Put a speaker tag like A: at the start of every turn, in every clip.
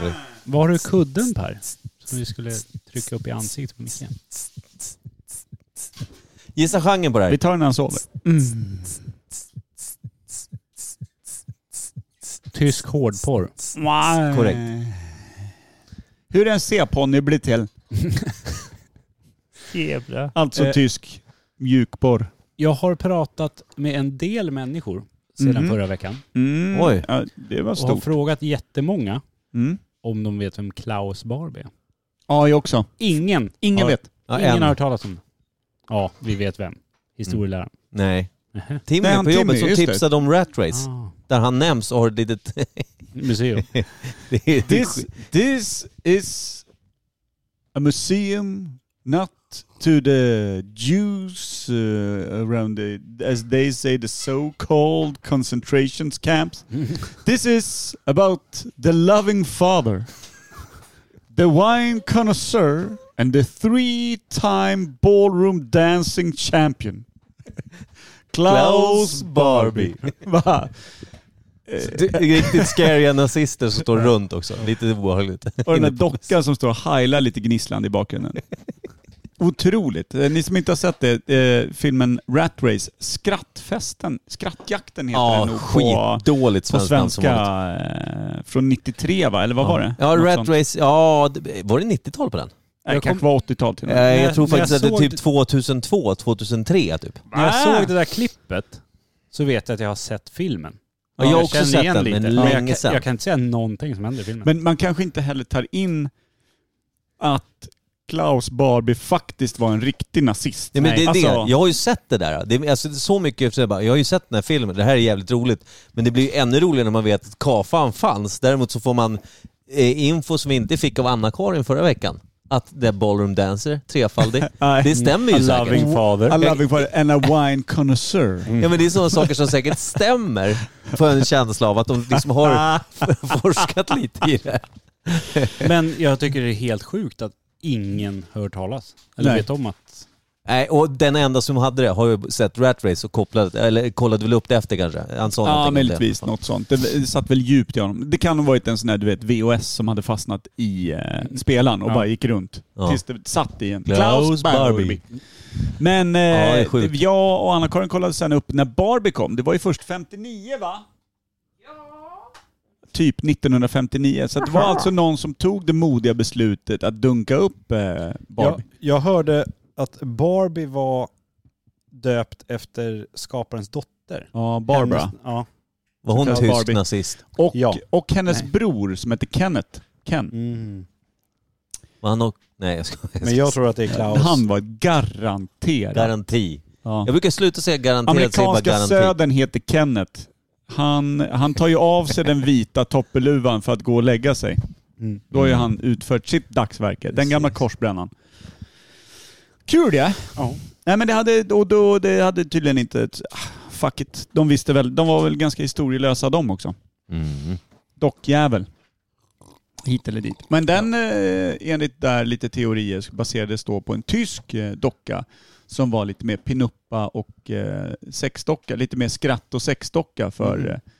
A: bättre.
B: Var har du kudden Per? Som du skulle trycka upp i ansiktet på micken.
A: Gissa genren på det
C: Vi
A: här.
C: tar den när han sover.
B: Tysk hårdporr.
C: Nej.
A: Korrekt.
C: Eh, Hur en C-ponny blir till.
B: Jävla.
C: Alltså
B: Eh.
C: tysk mjukborr.
B: Jag har pratat med en del människor sedan
C: Mhm.
B: förra veckan.
C: Mm.
A: Oj.
C: Ja, det var
B: Och har
C: stort.
B: frågat jättemånga
C: Mm.
B: om de vet vem Klaus Barbie är.
C: Ja, jag också.
B: Ingen.
C: Ingen
B: har,
C: vet.
A: Ja,
B: ingen
A: en.
B: har hört talas om det. Ja, vi vet vem. Historieläraren.
A: Nej.
B: Nähä.
A: Timmy
C: Nej, han
A: på
C: Timmy,
A: jobbet som
C: just det.
A: tipsade om Rat Race.
B: Ah,
A: Där han nämns och har ett litet...
B: museum.
A: det är- det är
C: This, this is a museum not to the Jews uh, around the, as they say, the so-called concentration camps. this is about the loving father, the wine connoisseur, and the three-time ballroom dancing champion. Klaus
A: Klaus
C: Barbie.
A: Barbie.
C: Va?
A: Det är riktigt scariga nazister som står runt också. Lite obehagligt.
C: Och den där dockan som står och heilar lite gnisslande i bakgrunden. Otroligt. Eh, Ni som inte har sett det, eh, filmen Rat Race, Skrattfesten, Skrattjakten heter
A: Ja,
C: den nog på,
A: skitdåligt
C: på
A: svenskt namn som
C: svenska.
A: vanligt.
C: eh, Från 93 va, eller vad var det?
A: Ja,
C: Något
A: Rat
C: sånt.
A: Race, ja, det- var det 90-tal på den?
C: Nej,
B: Jag
C: kanske var 80-tal till och
A: Eh,
C: med.
A: jag tror
B: när
A: faktiskt
B: jag
A: att det är
B: såg
A: typ
B: det-
A: 2002, 2003 typ.
B: När jag
C: Ah.
B: såg det där klippet så vet jag att jag har sett filmen.
A: Ja, jag har också
B: känner
A: sett
B: igen
A: den,
B: lite.
A: men
B: Ja, jag,
A: länge
B: kan-
A: sedan.
B: Jag kan inte säga någonting som händer i filmen.
C: Men man kanske inte heller tar in att Klaus Barbie faktiskt var en riktig nazist.
A: Nej, men det, är
C: alltså-
A: det. Jag har ju sett det där. Det, är- alltså, det är så mycket, så jag, bara, jag har ju sett den här filmen, det här är jävligt roligt. Men det blir ju ännu roligare när man vet att Kafan fanns. Däremot så får man eh, info som vi inte fick av Anna-Karin förra veckan. Att det är Ballroom Dancer, trefaldig.
C: Nej.
A: det stämmer ju
B: A
A: säkert.
B: loving father.
C: I love you for and a wine connoisseur.
A: Ja men det är sådana saker som säkert stämmer för en känsla av att de liksom har forskat lite i det.
B: Men jag tycker det är helt sjukt att ingen hör talas. Eller
C: Nej.
B: vet om att...
A: Nej, och den enda som hade det har ju sett Rat Race och kopplat, eller kollade väl upp det efter kanske. Han sa
C: Ja,
A: någonting om det.
C: möjligtvis något sånt. Det det satt väl djupt i honom. Det kan ha varit en sån här, du vet, VHS som hade fastnat i eh, spelaren och
B: Ja.
C: bara gick runt.
A: Mm. Ja.
C: Tills det satt i en.
A: Klaus Barbie.
C: Men
A: det
C: eh,
A: är sjukt.
C: jag och Anna-Karin kollade sen upp när Barbie kom. Det var ju först 59 va? Typ 1959. Så att det var alltså någon som tog det modiga beslutet att dunka upp eh,
D: Jag,
C: Barbie.
D: jag hörde att Barbie var döpt efter skaparens dotter.
C: Ja, Barbara.
D: Hennes, ja.
A: Var hon
C: Klaus
A: tysk
C: Barbie.
A: nazist?
C: Och,
D: Ja.
C: och hennes
B: Nej.
C: bror som heter Kenneth. Ken.
A: Var han och... Nej jag skojar.
D: Mm. Men jag tror att det är Klaus.
C: Han var garanterad.
A: Garanti.
C: Ja.
A: Jag brukar sluta säga garanterat, säger bara
C: Amerikanska
A: garanti.
C: södern heter Kenneth. Han, han tar ju av sig den vita toppeluvan för att gå och lägga sig.
D: Mm.
C: Då har ju han utfört sitt dagsverke. Den gamla korsbrännan. Kul det!
D: Ja.
C: Nej men det hade, och då, det hade tydligen inte... ett- ah, Fuck it. De visste väl. De var väl ganska historielösa de också.
A: Mm.
C: Dockjävel. Hit eller dit. Men den, eh, enligt där lite teorier, baserades då på en tysk eh, docka som var lite mer pinuppa och eh, sexdocka. Lite mer skratt och sexdocka för eh,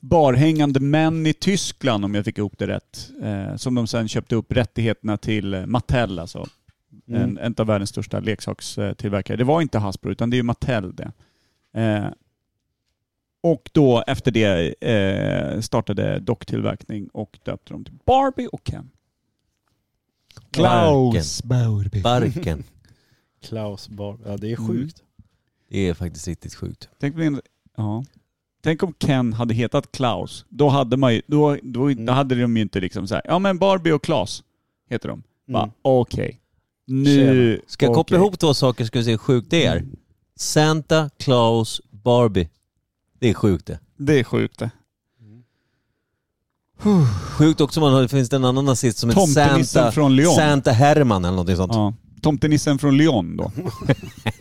C: barhängande män i Tyskland, om jag fick ihop det rätt. Eh, som de sen köpte upp rättigheterna till eh, Mattel, alltså.
A: Mm.
D: Mm.
C: En, en av världens största leksakstillverkare. Det var inte Hasbro, utan det är ju Mattel det. Eh, och då efter det eh, startade docktillverkning och döpte dem till Barbie och Ken.
A: Klaus
D: Barbie.
A: Barken.
D: Klaus Barbie. Ja, det är
C: Mm.
D: sjukt.
A: Det är faktiskt riktigt sjukt.
C: Tänk, om en- ja. Tänk om Ken hade hetat Klaus. Då hade, man ju, då, då,
A: Mm.
C: då hade de ju inte liksom så här, ja men Barbie och Klaus heter de. Bara
D: Mm.
C: okej. Nu...
A: Ska jag koppla
C: okej.
A: ihop två saker ska vi se hur sjukt det är. Santa, Claus, Barbie. Det är sjukt det.
C: Det är sjukt det.
D: Mm.
A: Sjukt också om man har, finns det en annan nazist som heter
C: Tomtenissen
A: Santa,
C: från Lyon.
A: Santa Herman eller någonting sånt.
C: Ja. Tomtenissen från Lyon då.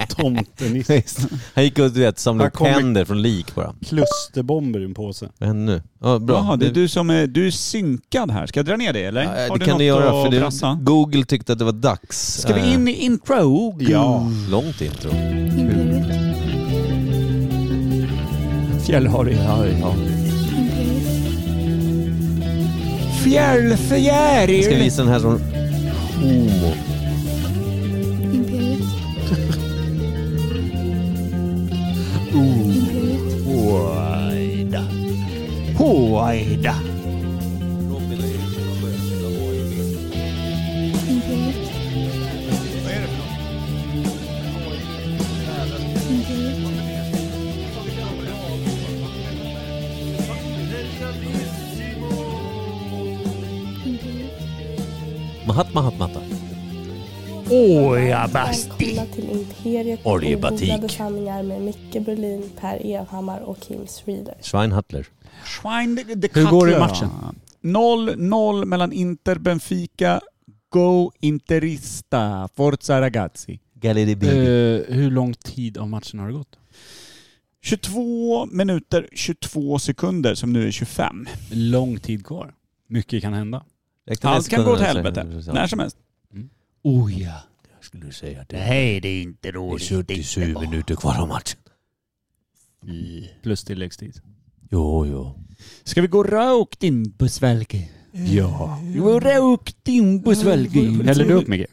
D: Tomtenisse.
A: Han gick och du vet, samlade
D: Han
A: upp
D: kom i-
A: händer från lik bara.
D: Klusterbomber i en påse.
A: Vad händer nu? Ja, bra.
C: Jaha, det är du som är, du är synkad här. Ska jag dra ner dig eller?
A: Ja, det
C: Har du
A: kan
C: något
A: du göra för
C: att Eh.
A: du,
C: brassa?
A: Google tyckte att det var dags. Eh,
C: Ska vi in i intro?
D: Ja.
A: Långt intro.
C: Fjällhare, ja, ja.
A: Jag ska
E: fjällfjäril.
A: visa den här som homo.
F: Imperiet. Imperiet.
E: Håjda. Håjda.
F: Imperiet. Imperiet. Imperiet.
A: Mahat, mahat, matta.
E: Åja basti.
G: Välkomna till Imperiet
A: Orjebatik.
G: Ogodade sanningar med Micke Berlin, Per Evhammar och Kim Schreeder.
A: Schweinhattler.
C: Schwein de
B: Hur går det i matchen?
C: 0-0 mellan Inter Benfica. Go Interista. Forza ragazzi.
A: Galleri
B: Eh, hur lång tid av matchen har det gått?
C: 22 minuter 22 sekunder som nu är 25.
B: Lång tid kvar. Mycket kan hända.
C: Allt kan gå åt helvete. När som helst.
E: Åja.
A: Jag skulle säga
E: Det här är inte roligt.
A: minuter kvar av matchen.
B: Plus tilläggstid.
A: Jo, jo.
C: Ska vi gå rakt in på Svalke?
B: Eh,
C: Ja. Gå rakt in på Svalke.
B: Häller du upp Micke?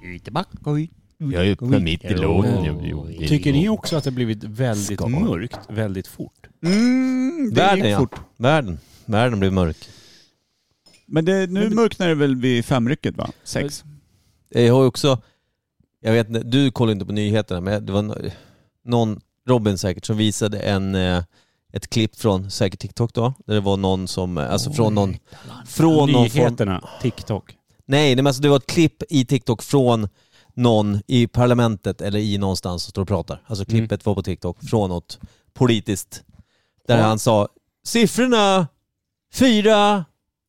E: Utebacka ut.
A: Jag är uppe mitt i låten.
B: Tycker ni också att det blivit väldigt
A: Ska.
B: mörkt väldigt fort?
C: Mm, det
A: Världen,
C: gick
A: ja.
C: fort.
A: Världen. Världen blir mörk.
C: Men det, nu mörknar det väl vid femrycket va? Sex?
A: Jag har ju också... Jag vet inte, du kollar inte på nyheterna men det var nå- någon, Robin säkert, som visade en, eh, ett klipp från, säkert TikTok då, där det var någon som, eh, alltså från någon... Från någon form,
B: Nyheterna, TikTok.
A: nej, nej men alltså det var ett klipp i TikTok från någon i parlamentet eller i någonstans som står och pratar. Alltså klippet var på TikTok från något politiskt. Där han sa siffrorna 4,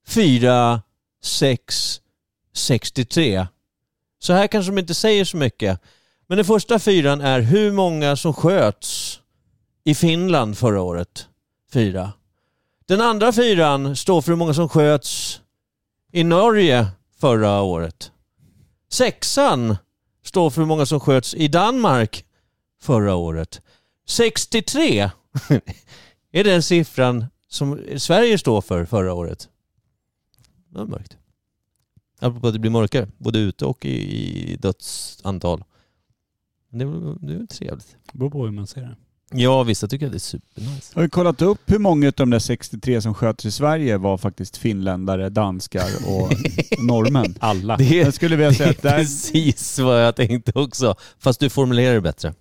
A: 4, 6, 63. Så här kanske de inte säger så mycket. Men den första fyran är hur många som sköts i Finland förra året. Fyra. Den andra fyran står för hur många som sköts i Norge förra året. Sexan står för hur många som sköts i Danmark förra året. 63 är den siffran som Sverige står för förra året. Det var mörkt. Apropå att det blir mörkare, både ute och i, i dödsantal. Men Det är väl- det är väl trevligt.
B: Beror på hur man ser det.
A: Ja, vissa tycker att det är supernice.
C: Har vi kollat upp hur många av de där 63 som sköts i Sverige var faktiskt finländare, danskar och norrmän?
B: Alla.
A: Det är,
C: Jag skulle vilja
A: det
C: säga
A: är
C: att där,
A: precis vad jag tänkte också. Fast du formulerar det bättre.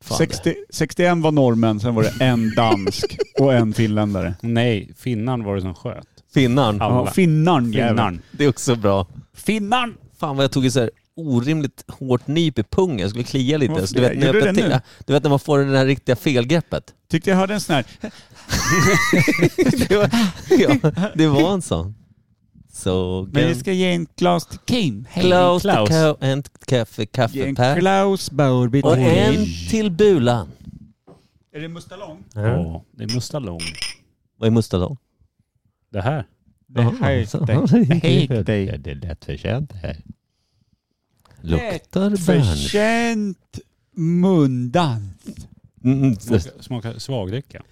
A: Fan,
C: 60, 61 var norrmän, sen var det en dansk och en finländare.
B: Nej, finnan var det som sköt.
A: Finnarn.
B: Ja.
C: Ja, finnarn. jäveln.
B: Finnan.
A: Det är också bra.
C: Finnarn!
A: Fan vad jag tog ett så här orimligt hårt nyp i pungen. Jag skulle klia lite.
C: Varför
A: Så du,
C: det?
A: vet, när
C: Gjorde
A: jag
C: du det
A: till,
C: nu?
A: du vet när man får det där riktiga felgreppet.
C: Tyckte jag hörde en sån här.
A: det, var, ja, det var en sån. Så...
C: Men jag ska ge en Klaus till Kim. Hej.
A: Klaus,
B: Klaus.
A: Klaus. en kaffe,
C: Ge en
A: kaffepär.
C: Klaus Bauerbitt.
A: Och en till Bulan.
C: Är det Mustalong?
B: Ja, det är Mustalong.
A: Vad är Mustalong?
B: Det här.
A: Det
E: Hej dig.
A: Ja,
E: det lät förtjänt det här.
A: Luktar bärn.
C: Förtjänt mundan.
A: Mm,
B: Smaka, smaka svagdricka.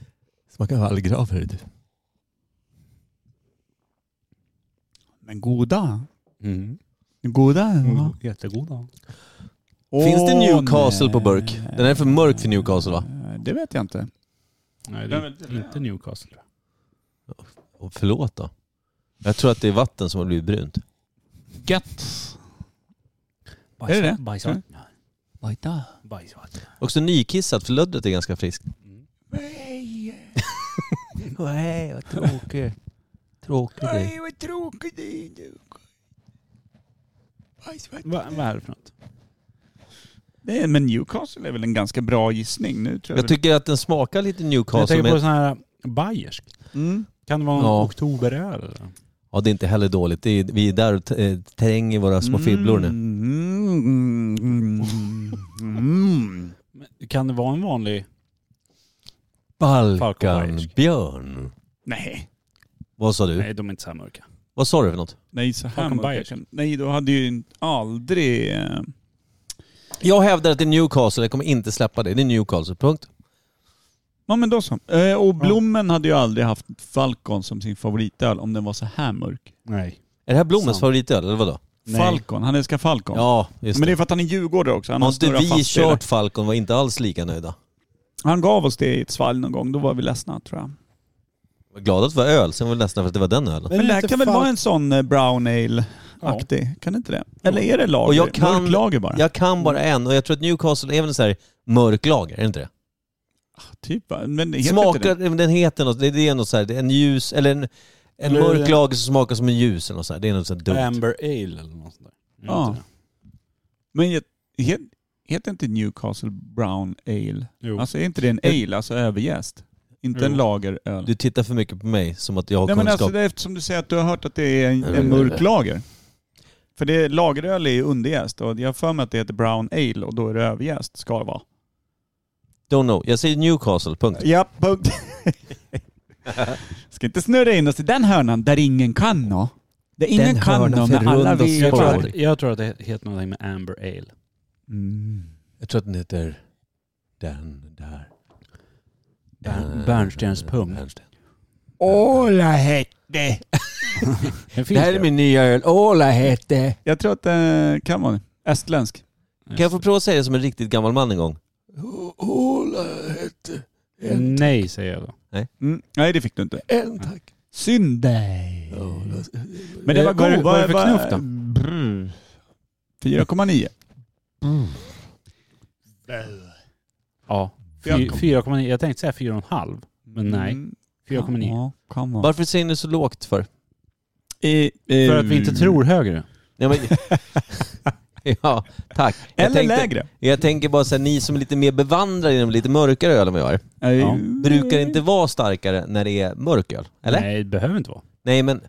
A: Smakar vallgrav hörru du.
C: Men goda.
B: Mm.
C: Goda. va?
B: Jättegoda.
A: Finns det
C: Åh,
A: Newcastle
C: nej. Eh,
A: på burk? Den är för mörk för Newcastle va?
C: Det vet jag inte. Mm.
B: Nej, det är inte Newcastle. tror jag.
A: Och förlåt då. Jag tror att det är vatten som har blivit brunt.
C: Gött. Är det det?
B: Bajsvatten.
C: Vajta.
B: Bajsvatten.
A: Också nykissat för löddret är ganska friskt. Nej, vad tråkigt. Tråkigt.
C: vad tråkigt det är. du. Bajsvatten.
B: Va, vad är det för något?
C: Nej, Men Newcastle är väl en ganska bra gissning nu tror jag.
A: Jag tycker att den smakar lite
B: Jag
A: Newcastle.
B: tänker på
A: Men...
B: sån här bayersk.
C: Mm.
B: Kan det vara en
A: Ja.
B: oktoberöl? eller?
A: Ja, det är inte heller dåligt. Det är, vi är där och eh, tränger våra små fibblor nu.
C: Mm. Mm. Mm.
B: Men Kan det vara en vanlig... Falkenberg.
A: Balkanbjörn.
C: Nej.
A: Vad sa du?
B: Nej, de är inte så här mörka.
A: Vad sa du för något?
C: Nej, så här
B: Håkan
C: mörka
B: Bayers.
C: kan- Nej, då hade ju in- aldrig... eh,
A: Jag hävdar att det är Newcastle, jag kommer inte släppa det. Det är Newcastle, punkt.
C: Ja men då så. Eh, och Blommen hade ju aldrig haft Falcon som sin favoritöl om den var så här mörk.
B: Nej.
A: Är det här Blommens
B: Sant.
A: favoritöl, eller vadå?
B: Nej.
C: Falcon, han älskar Falcon.
A: Ja, just
C: men det
A: det.
C: är för att han är djurgårdare också. Han,
A: Har
C: har
A: inte
C: snurrat
A: vi
C: fast i det.
A: kört Falcon var inte alls lika nöjda.
C: han gav oss det i ett svalg någon gång, då var vi ledsna tror jag.
A: Var glada att det var öl, sen var vi ledsna för att det var den ölen.
C: Men, det här
D: inte
C: kan väl
D: Falk-
C: vara en sån eh, brown
B: Ja.
C: ale-aktig? Kan det inte det? Eller är det lager?
A: Och jag kan-
C: Mörk lager bara?
A: Jag kan bara
C: Mm.
A: en och jag tror att Newcastle är väl en så här mörk lager, är det inte det?
C: Typ va? Men det heter inte
A: Smakar,
C: det.
A: den heter något, det det är något så här, det är en ljus, eller en, en
D: Eller-
A: mörk lager som smakar som en ljus eller något så här. Det är något så här dumt.
B: Amber Ale eller något sånt där. Jag
C: Ja.
B: vet inte.
C: Men het, het, heter inte Newcastle brown ale?
B: Jo.
C: Alltså är inte det en ale, alltså överjäst? Inte en
B: Jo.
C: lageröl?
A: Du tittar för mycket på mig som att jag har
C: Nej men
A: kunskap. Mm.
C: alltså det är eftersom du säger att du har hört att det är en,
A: Nej, nej,
C: en
A: nej.
C: mörk lager. För det, lageröl är ju underjäst och jag har för mig att det heter brown ale och då är det överjäst ska det vara.
A: Don't know. Jag säger Newcastle, punkt.
C: Ja, punkt. Ska inte snurra in oss i den hörnan där ingen kan nå. Där ingen
A: Den
C: kan nå
A: hörnan
C: men alla
A: förrundas
C: vet.
B: jag, tror
A: Spår.
B: att, jag tror att det heter någonting med Amber Ale.
C: Mm.
A: Jag tror att den heter den där.
B: Bern- Bernstens pung.
A: Bernsten.
E: Åla hette.
B: Den finns
A: Det här är
B: ju.
A: min nya öl.
E: Åla hette.
C: Jag tror att det kan vara det. estländsk.
A: Kan jag få prova att säga det som en riktigt gammal man en gång?
B: Eh, Nej, säger jag då.
C: Mm. Nej det fick du inte.
E: En tack. Synd dig.
C: Men det var
B: Eh, vad är
C: god.
B: det- vad är det för
C: var-
B: knuff då?
C: Brr. 4,9.
B: Ja. Fy- 4,9. Jag tänkte säga 4,5. Men nej,
C: Mm.
B: 4,9.
C: Ja, kan vara.
A: Varför säger ni så lågt för?
B: eh, För att vi inte
C: Mm.
B: tror högre.
A: Ja, men... ja tack. Jag
C: Eller
A: tänkte-
C: lägre.
A: Jag tänker bara säga ni som är lite mer bevandrade i de lite mörkare öl än vad jag är.
C: Ja.
A: Brukar inte vara starkare när det är mörk öl? Eller? Nej,
B: Nej, det behöver inte vara.
A: men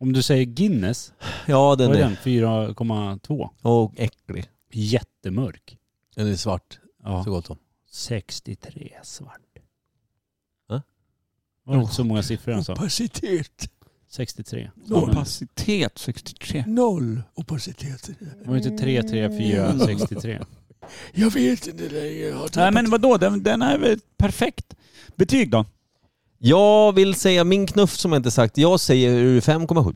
B: Om du säger Guinness,
A: ja den
B: vad är
A: är...
B: den? 4,2.
A: Åh, äcklig.
B: Jättemörk.
A: Den är svart,
B: Ja.
A: så gott som.
B: 63 svart.
A: Va?
B: Var det inte så många siffror han sa?
E: Opacitet.
B: 63. Ja, men,
C: Opacitet 63.
E: Noll opacitet.
B: var det inte 3, 3, 4, 63?
E: Jag vet inte längre. Jag har
C: Nej
E: tappat-
C: men vadå, den, den är väl perfekt. Betyg då?
A: Jag vill säga min knuff som jag inte sagt. Jag säger ur 5,7.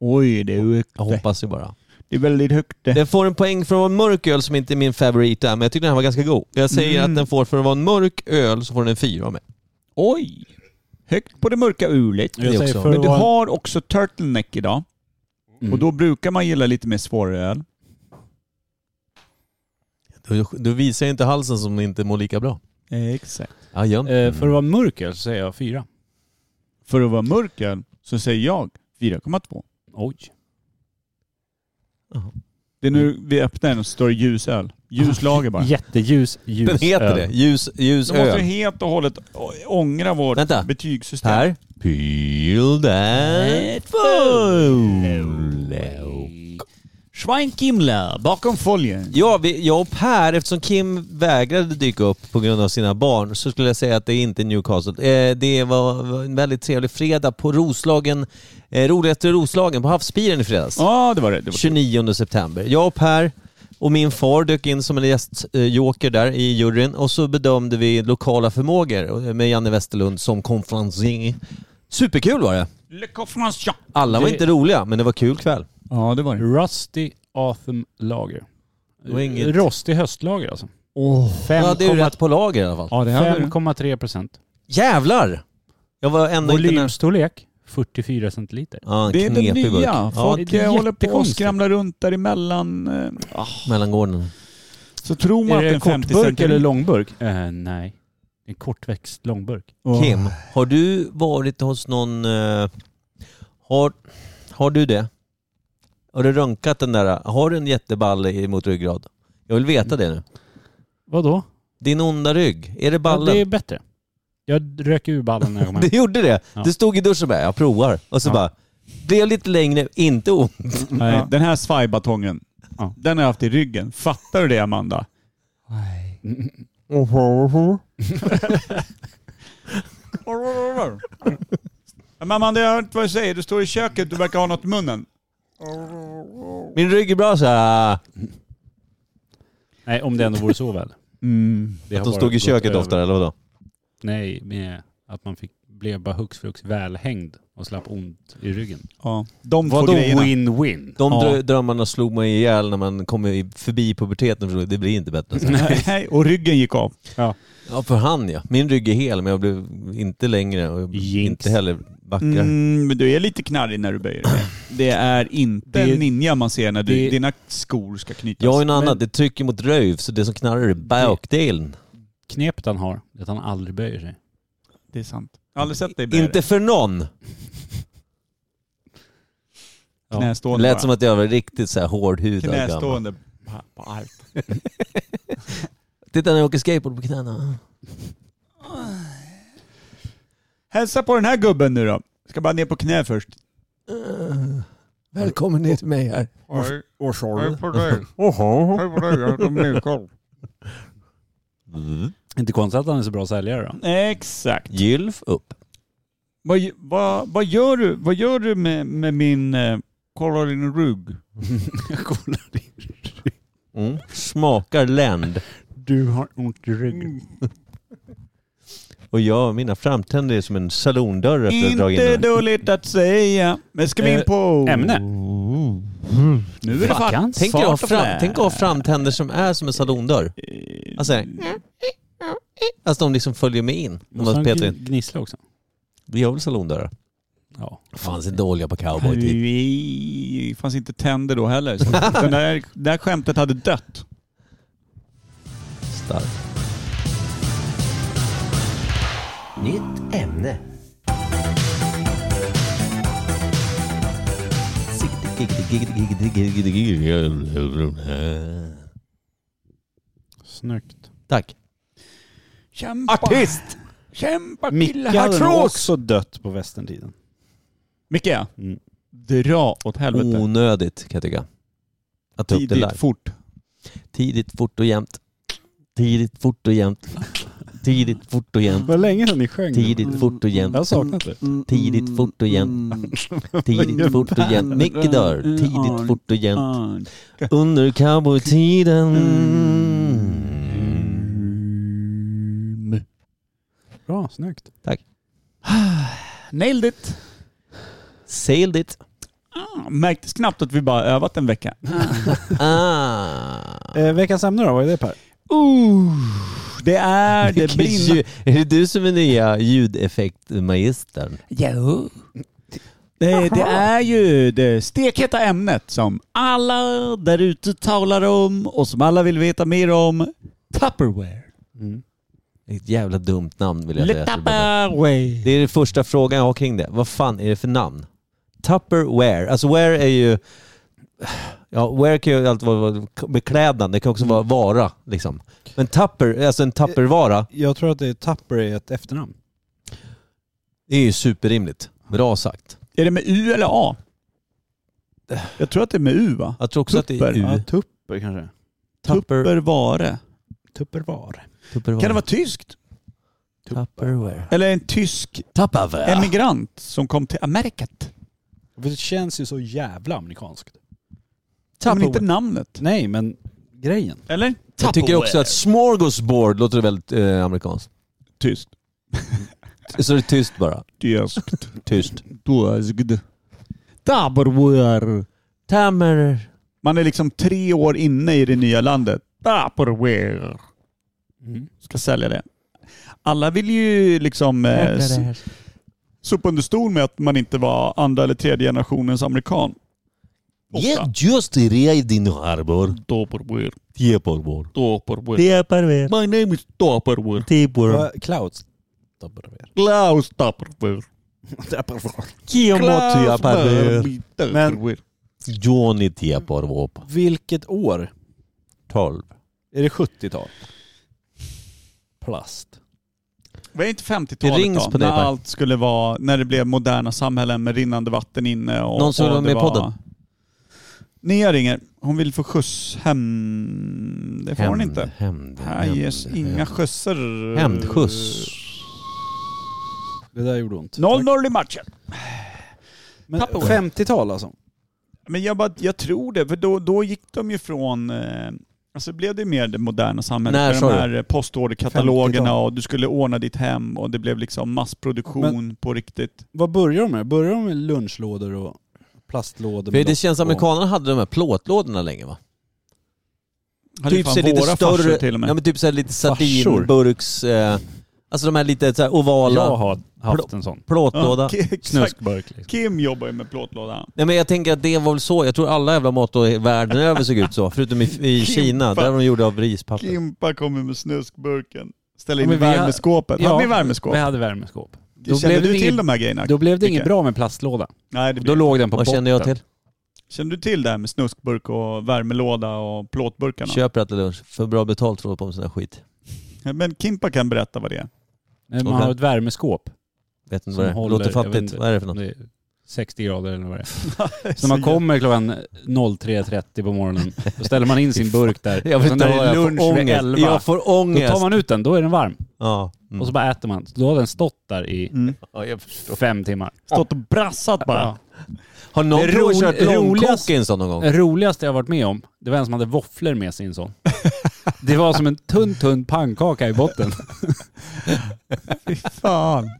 C: Oj, det är högt
A: Jag hoppas ju bara.
C: Det är väldigt högt
A: Den får en poäng för att vara en mörk öl som inte är min favorit än, men jag tycker den här var ganska god. Jag säger
C: Mm.
A: att den får, för att vara en mörk öl, så får den en fyra av mig.
C: Oj! Högt på det mörka ulet.
A: Det
B: Jag säger
A: också.
B: för
C: Men
B: att
C: du
B: vara...
C: har också turtleneck idag.
B: Mm.
C: Och då brukar man gilla lite mer svårare öl.
A: Du, du visar ju inte halsen som inte mår lika bra.
C: Exakt.
A: Ja, ja.
B: Eh, För att vara mörker så säger jag 4.
C: För att vara mörk öl så säger jag 4,2.
B: Oj.
C: Det är nu vi öppnar den och står ljus öl. Ljus lager bara.
B: Jätteljus, ljus
A: Den heter
B: öl.
A: det. Ljus, ljus
C: Då måste vi
A: öl.
C: helt och hållet å- ångra vårt
A: Vänta.
C: betygssystem.
A: Här. Peel that fool.
C: Schweinkimla bakom folien.
A: Ja, vi, jag och Per, eftersom Kim vägrade dyka upp på grund av sina barn, så skulle jag säga att det är inte Newcastle. Eh, det var, var en väldigt trevlig fredag på Roslagen, eh, roligaste Roslagen, på Havsbiren i fredags.
C: Ja, det var det. det var
A: 29 september. Jag och Per och min far dök in som en gästjoker där i juryn och så bedömde vi lokala förmågor eh, med Janne Westerlund som konferencier. Superkul var det.
C: Le Conference Shop.
A: Alla var
B: Det-
A: inte roliga, men det var kul kväll.
C: Ja, det var det.
B: Rusty Atham Lager.
A: Det var inget-
B: Rostig höstlager alltså.
A: Jag hade ju rätt på lager i alla fall.
C: Ja, det här var
B: 5,3 procent.
A: Jävlar! Jag var ändå inte när...
B: Volymstorlek 44 centiliter.
A: Ja, en
C: det är den
A: knepig burk.
C: nya.
A: Ja,
C: Folk
B: det är
C: eh, håller på och
B: jättekonstigt.
C: skramlar runt däremellan. eh,
A: mellangården.
C: Så tror man
B: Är
C: att
B: det
C: en 50
B: kortburk
C: centimeter...
B: eller långburk? Eh, nej. En kortväxt långburk.
C: Åh.
A: Kim, har du varit hos någon... eh, har, har du det? Har du röntgat den där? Har du en jätteballe i- mot ryggrad? Jag vill veta det nu.
B: Vadå?
A: Din onda rygg, är det
B: Ja,
A: ballen?
B: det är bättre. Jag rök ur ballen när jag kom hem.
A: det gjorde det?
B: Ja.
A: Du stod i duschen och bara, jag provar. Och så
B: Ja.
A: bara, blev lite längre, inte ont.
C: Nej,
B: Ja.
C: Den här svajbatongen,
B: Ja.
C: den har jag haft i ryggen. Fattar du det Amanda? Men Amanda, jag har hört vad du säger. Du står i köket, du verkar ha något i munnen.
A: Min rygg är bra så här.
B: Nej, om det ändå vore så väl.
C: Mm,
B: Det
A: Att
B: har
A: de
B: bara
A: stod i
B: gått
A: köket
B: över.
A: oftare eller vadå?
B: Nej, med att man fick, blev bara hux flux välhängd och slapp ont i ryggen.
C: Ja. De två
B: Vadå
C: grejerna.
B: win-win?
A: De
C: Ja.
A: drö- drömmarna slog man ihjäl när man kom i- förbi puberteten. förstår du. Det blir inte bättre. sen.
C: Nej, och ryggen gick av.
A: Ja, för han ja. Min rygg är hel men jag blev inte längre och
B: Jinx.
A: inte heller backar.
C: Mm, men du är lite knarrig när du böjer dig. Det är inte
B: Det-
C: en ninja man ser när du,
B: det-
C: dina skor ska knytas.
A: Jag har en annan,
B: men-
A: det trycker mot röv så det som knarrar är bakdelen.
B: Knepet han har är att han aldrig böjer sig.
C: Det är sant. Jag har aldrig sett dig böja
A: Inte för någon!
B: Ja.
C: Knästående bara.
A: Lät som att jag var riktigt så här hårdhudad gammal.
C: Knästående på- på allt.
A: Titta när jag åker skateboard på knäna.
C: Hälsa på den här gubben nu då. Ska bara ner på knä först.
E: Ah.
A: Välkommen ner till mig här.
D: Och Charlie.
B: Inte konstigt att han är så bra säljare då.
C: Exakt.
A: Gylf upp.
C: Vad, ge- vad, vad gör du, vad gör du med, med min... Eh, kolla din rygg.
A: Mm. Smakar länd.
B: Du har ont i
A: Mm.
B: ryggen.
A: Och jag, mina framtänder är som en salondörr efter att ha dragit
C: Inte
A: in den.
C: dåligt att säga. Men ska vi in
B: Eh,
C: på...
B: Ämne?
C: Nu är det fan...
B: Vacans.
A: Tänk att ha
C: Fart och
A: fram,
C: flä.
A: tänk att ha framtänder som är som en salondörr. Alltså,
C: Eh,
A: alltså de liksom följer med in. När
B: Måste
A: man
B: han
A: petar
B: gn-
A: in.
B: gnissla också?
A: Vi gör väl salondörrar?
B: Ja.
A: Fanns inte olja på cowboy typ. tid.
C: Nej, Det fanns inte tänder då heller. Så den där, det där skämtet hade dött.
A: Starkt.
H: Nytt ämne.
B: Snyggt.
A: Tack.
E: Kämpa.
C: Artist!
E: Kämpa
D: Micke
E: killar.
D: hade nog
E: Artros.
D: också dött på västerntiden.
C: Micke,
B: Mm.
C: dra åt helvete.
A: Onödigt kan jag tycka. Att ta upp Oh, det live.
C: Tidigt, fort.
A: Tidigt, fort och jämnt. Tidigt, fort och jämnt. Tidigt, fort och jämnt.
D: Vad länge sedan ni sjöng.
A: Tidigt, fort och
D: Jag
A: jämnt.
D: har saknat det.
A: Tidigt, fort och jämnt. Tidigt, fort och jämnt. Micke dör. Tidigt, fort och jämnt.
C: Ah,
A: Under cowboytiden.
B: Mm.
D: Mm.
B: Bra, snyggt.
C: Nailed it!
A: Sailed it.
C: Ah, märktes knappt att vi bara övat en vecka.
A: Ah.
D: Eh, veckans ämne då, vad är det Per?
C: Ooh, Uh, det är det
A: Vilken
C: brinner...
A: ljud- Är det du som är nya ljudeffektmagistern?
E: Jo.
C: Det, det är ju det stekheta ämnet som alla där ute talar om och som alla vill veta mer om. Tupperware.
A: Ett jävla dumt namn vill jag
C: Le
A: säga. till att börja med.
C: Tupperware.
A: Det är den första frågan jag har kring det. Vad fan är det för namn? Tupperware. Alltså wear är ju... Ja, wear kan ju alltid vara beklädnad. Det kan också vara vara liksom. Men tupper, alltså en tuppervara,
D: Jag tror att det är Tapper är ett efternamn.
A: det är ju superrimligt. Bra sagt.
C: Är det med U eller A? Jag tror att det är med U va?
A: Jag tror också att
C: Tupper.
A: det är
B: Ja,
A: U.
B: tupper kanske.
A: Tupper,
C: Tupperware.
D: Tuppervar.
A: tuppervara.
C: Kan det vara tyskt?
A: Tupperware.
C: Eller en tysk
A: Tupperware.
C: emigrant som kom till Amerikat?
B: För det känns ju så jävla amerikanskt.
C: Men inte namnet.
D: Nej, men grejen.
C: Eller?
A: Jag tycker också att smorgasbord låter väldigt eh, amerikanskt.
C: Tyst.
A: Så det är tyst bara.
C: Tyskt.
A: Tyst.
C: Tyskt. Tupperware.
A: Tammer.
C: Man är liksom tre år inne i det nya landet. Tupperware.
B: Mm.
C: Ska sälja det. Alla vill ju liksom eh, s- sopa under stol med att man inte var andra eller tredje generationens amerikan. Ofta.
A: Yeah, just arrived in harbor.
C: Tupperware.
A: Tupperware.
C: Tupperware. My name is Tupperware.
A: Tupperware.
D: Vad- Clouds. Tupperware.
C: Klaus Tupperware.
A: Kimmo Tupperware.
C: Tupperware.
A: Johnny Tupperware.
D: Vilket år?
A: 12.
D: Är det 70-tal? Plast.
C: Var det inte
A: Det rings
C: 50-talet
A: på
C: då?
A: dig,
C: När
A: Per.
C: allt skulle vara, när det blev moderna samhällen med rinnande vatten inne och...
A: Någon som
C: och
A: vill vara
C: det
A: med i podden?
C: Nia ringer. Hon vill få skjuts hem. Det får hon inte.
A: Hämnd.
C: Här ges inga skjutsar.
A: Hämndskjuts.
B: Det där gjorde ont.
C: 0-0 i matchen.
B: Men
C: Tupperware.
B: 50-tal alltså.
C: Men jag, bara, jag tror det, för då, då gick de ju från... Eh, alltså blev det mer det moderna samhället.
A: När
C: med
A: sa
C: de
A: du?
C: här eh, postorderkatalogerna
B: 50-tal.
C: och du skulle ordna ditt hem och det blev liksom massproduktion på riktigt.
B: Vad börjar de med? Börjar de med lunchlådor och plastlådor?
A: För
B: med
A: det
B: lock
A: känns
B: på?
A: amerikanerna hade de här plåtlådorna länge va?
C: Hade
B: Typ
C: ju fan
A: så
C: våra farsor till och med.
A: ja, men typ så här lite
B: Farsor?
A: sardinburks... Eh, alltså de här lite så här ovala,
B: Jag har haft en sån.
A: plåtlåda.
C: Ja, ki- exakt.
B: Snuskburk liksom.
C: Kim jobbar ju med plåtlåda.
A: Nej men jag tänker att det var väl så, jag tror alla jävla matlådor i världen över såg ut så, förutom i, i Kina, där de gjorde av rispapper.
C: Kimpa kommer med snuskburken. Ställer
B: Ja,
C: in i
B: men vi har-
C: värmeskåpet.
B: Ja,
C: hade ni
B: Vi
C: värmeskåp?
B: hade värmeskåp. Då
C: Kände
B: blev det
C: du till
B: inget-
C: de här grejerna?
B: Då blev det inget
C: Micke?
B: bra med plastlåda.
C: Nej, det
B: Då
C: blev...
B: låg den på
A: Vad känner jag
B: botten.
A: till?
C: Kände du till det här med snuskburk och värmelåda och plåtburkarna?
A: Köper det till lunch, för bra betalt för att hålla på med sån här skit.
C: Ja, Men Kimpa kan berätta vad det är.
B: Nej, Man har ett värmeskåp.
A: Vet inte
B: Som
A: vad det är.
B: håller-
A: låter
B: jag vet
A: fattigt.
B: inte.
A: Vad är det för något?
B: Det är 60 grader eller vad det är. Så
C: Så
B: när man
C: jävla-
B: kommer klockan 03.30 på morgonen, då ställer man in sin burk där.
A: Jag
B: Och
A: vet
B: sen
A: inte,
B: har
A: jag
B: fått
A: får ångest.
B: vid 11.
A: Jag får
B: Då
A: ångest.
B: tar man ut den, då är den varm.
A: Ja. Mm.
B: Och så bara äter man. Så Då har den stått där i
C: Mm.
A: Ja, jag-
B: fem timmar.
C: Stått och brassat bara.
A: Har någon
B: Det
A: provat
B: ro-
A: kört långkok
B: roligast-
A: i en sån någon gång?
B: Det roligaste jag varit med om, det var en som hade våfflor med sig i en sån. Det var som en tunn, tunn pannkaka i botten.
C: Fy fan.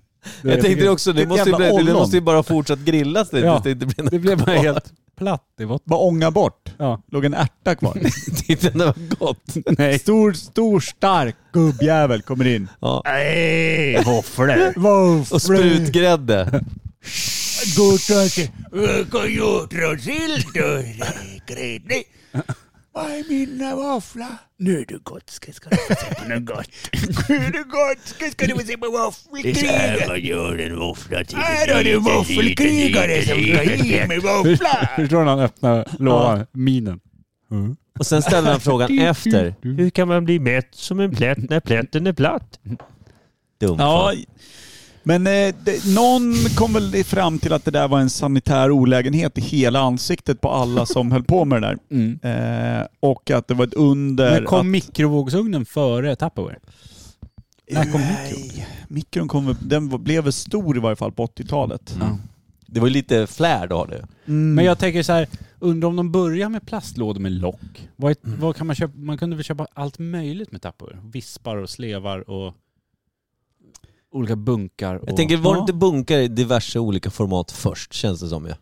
A: Jag tänkte också, det
C: Vilket
A: måste, ju
C: jävla
A: bli, det
C: ollon.
A: måste ju bara fortsätt grillas det
B: Ja.
A: tills det inte blir något
B: Det blev bara helt platt i botten.
C: Bara ånga bort.
B: Ja.
C: Låg en ärta kvar.
A: tills det var gott.
B: Nej.
C: Stor, stor, stark gubbjävel kommer in.
A: Ja.
C: Nej, våfflor. Våfflor.
A: Och sprutgrädde.
E: Kajutronsylt och grädde. Vad är mina våffla? Nu är det gott, ska ska du få se på något gott. Nu är det gott, ska ska du få se på våffelkriget. Det är så här man gör en våffla till. Här har du våffelkrigare som ska hit med våffla.
B: Förstår du när han öppnar lådan? Minen.
A: Och sen ställer han frågan efter.
I: Hur kan man bli mätt som en plätt när plätten är platt?
A: Dum
C: Ja,
A: fan.
C: men eh, det, någon kom väl fram till att det där var en sanitär olägenhet i hela ansiktet på alla som höll på med det där.
B: Mm.
C: Eh, och att det var ett under.
B: Men kom mikrovågsugnen före Tupperware?
C: att, när kom mikron? Mikron kom, väl- den var- blev väl stor i varje fall på 80-talet.
B: Ja.
A: Det var ju lite flärd du hade.
C: Mm.
A: Mm.
B: Men jag tänker så här, undrar om de börjar med plastlådor med lock. Vad, är,
A: Mm.
B: vad kan man köpa? Man kunde väl köpa allt möjligt med Tupperware? Vispar och slevar och olika bunkar. Och,
A: Jag tänker, var det
C: Ja.
A: inte bunkar i diverse olika format först, känns det som ju.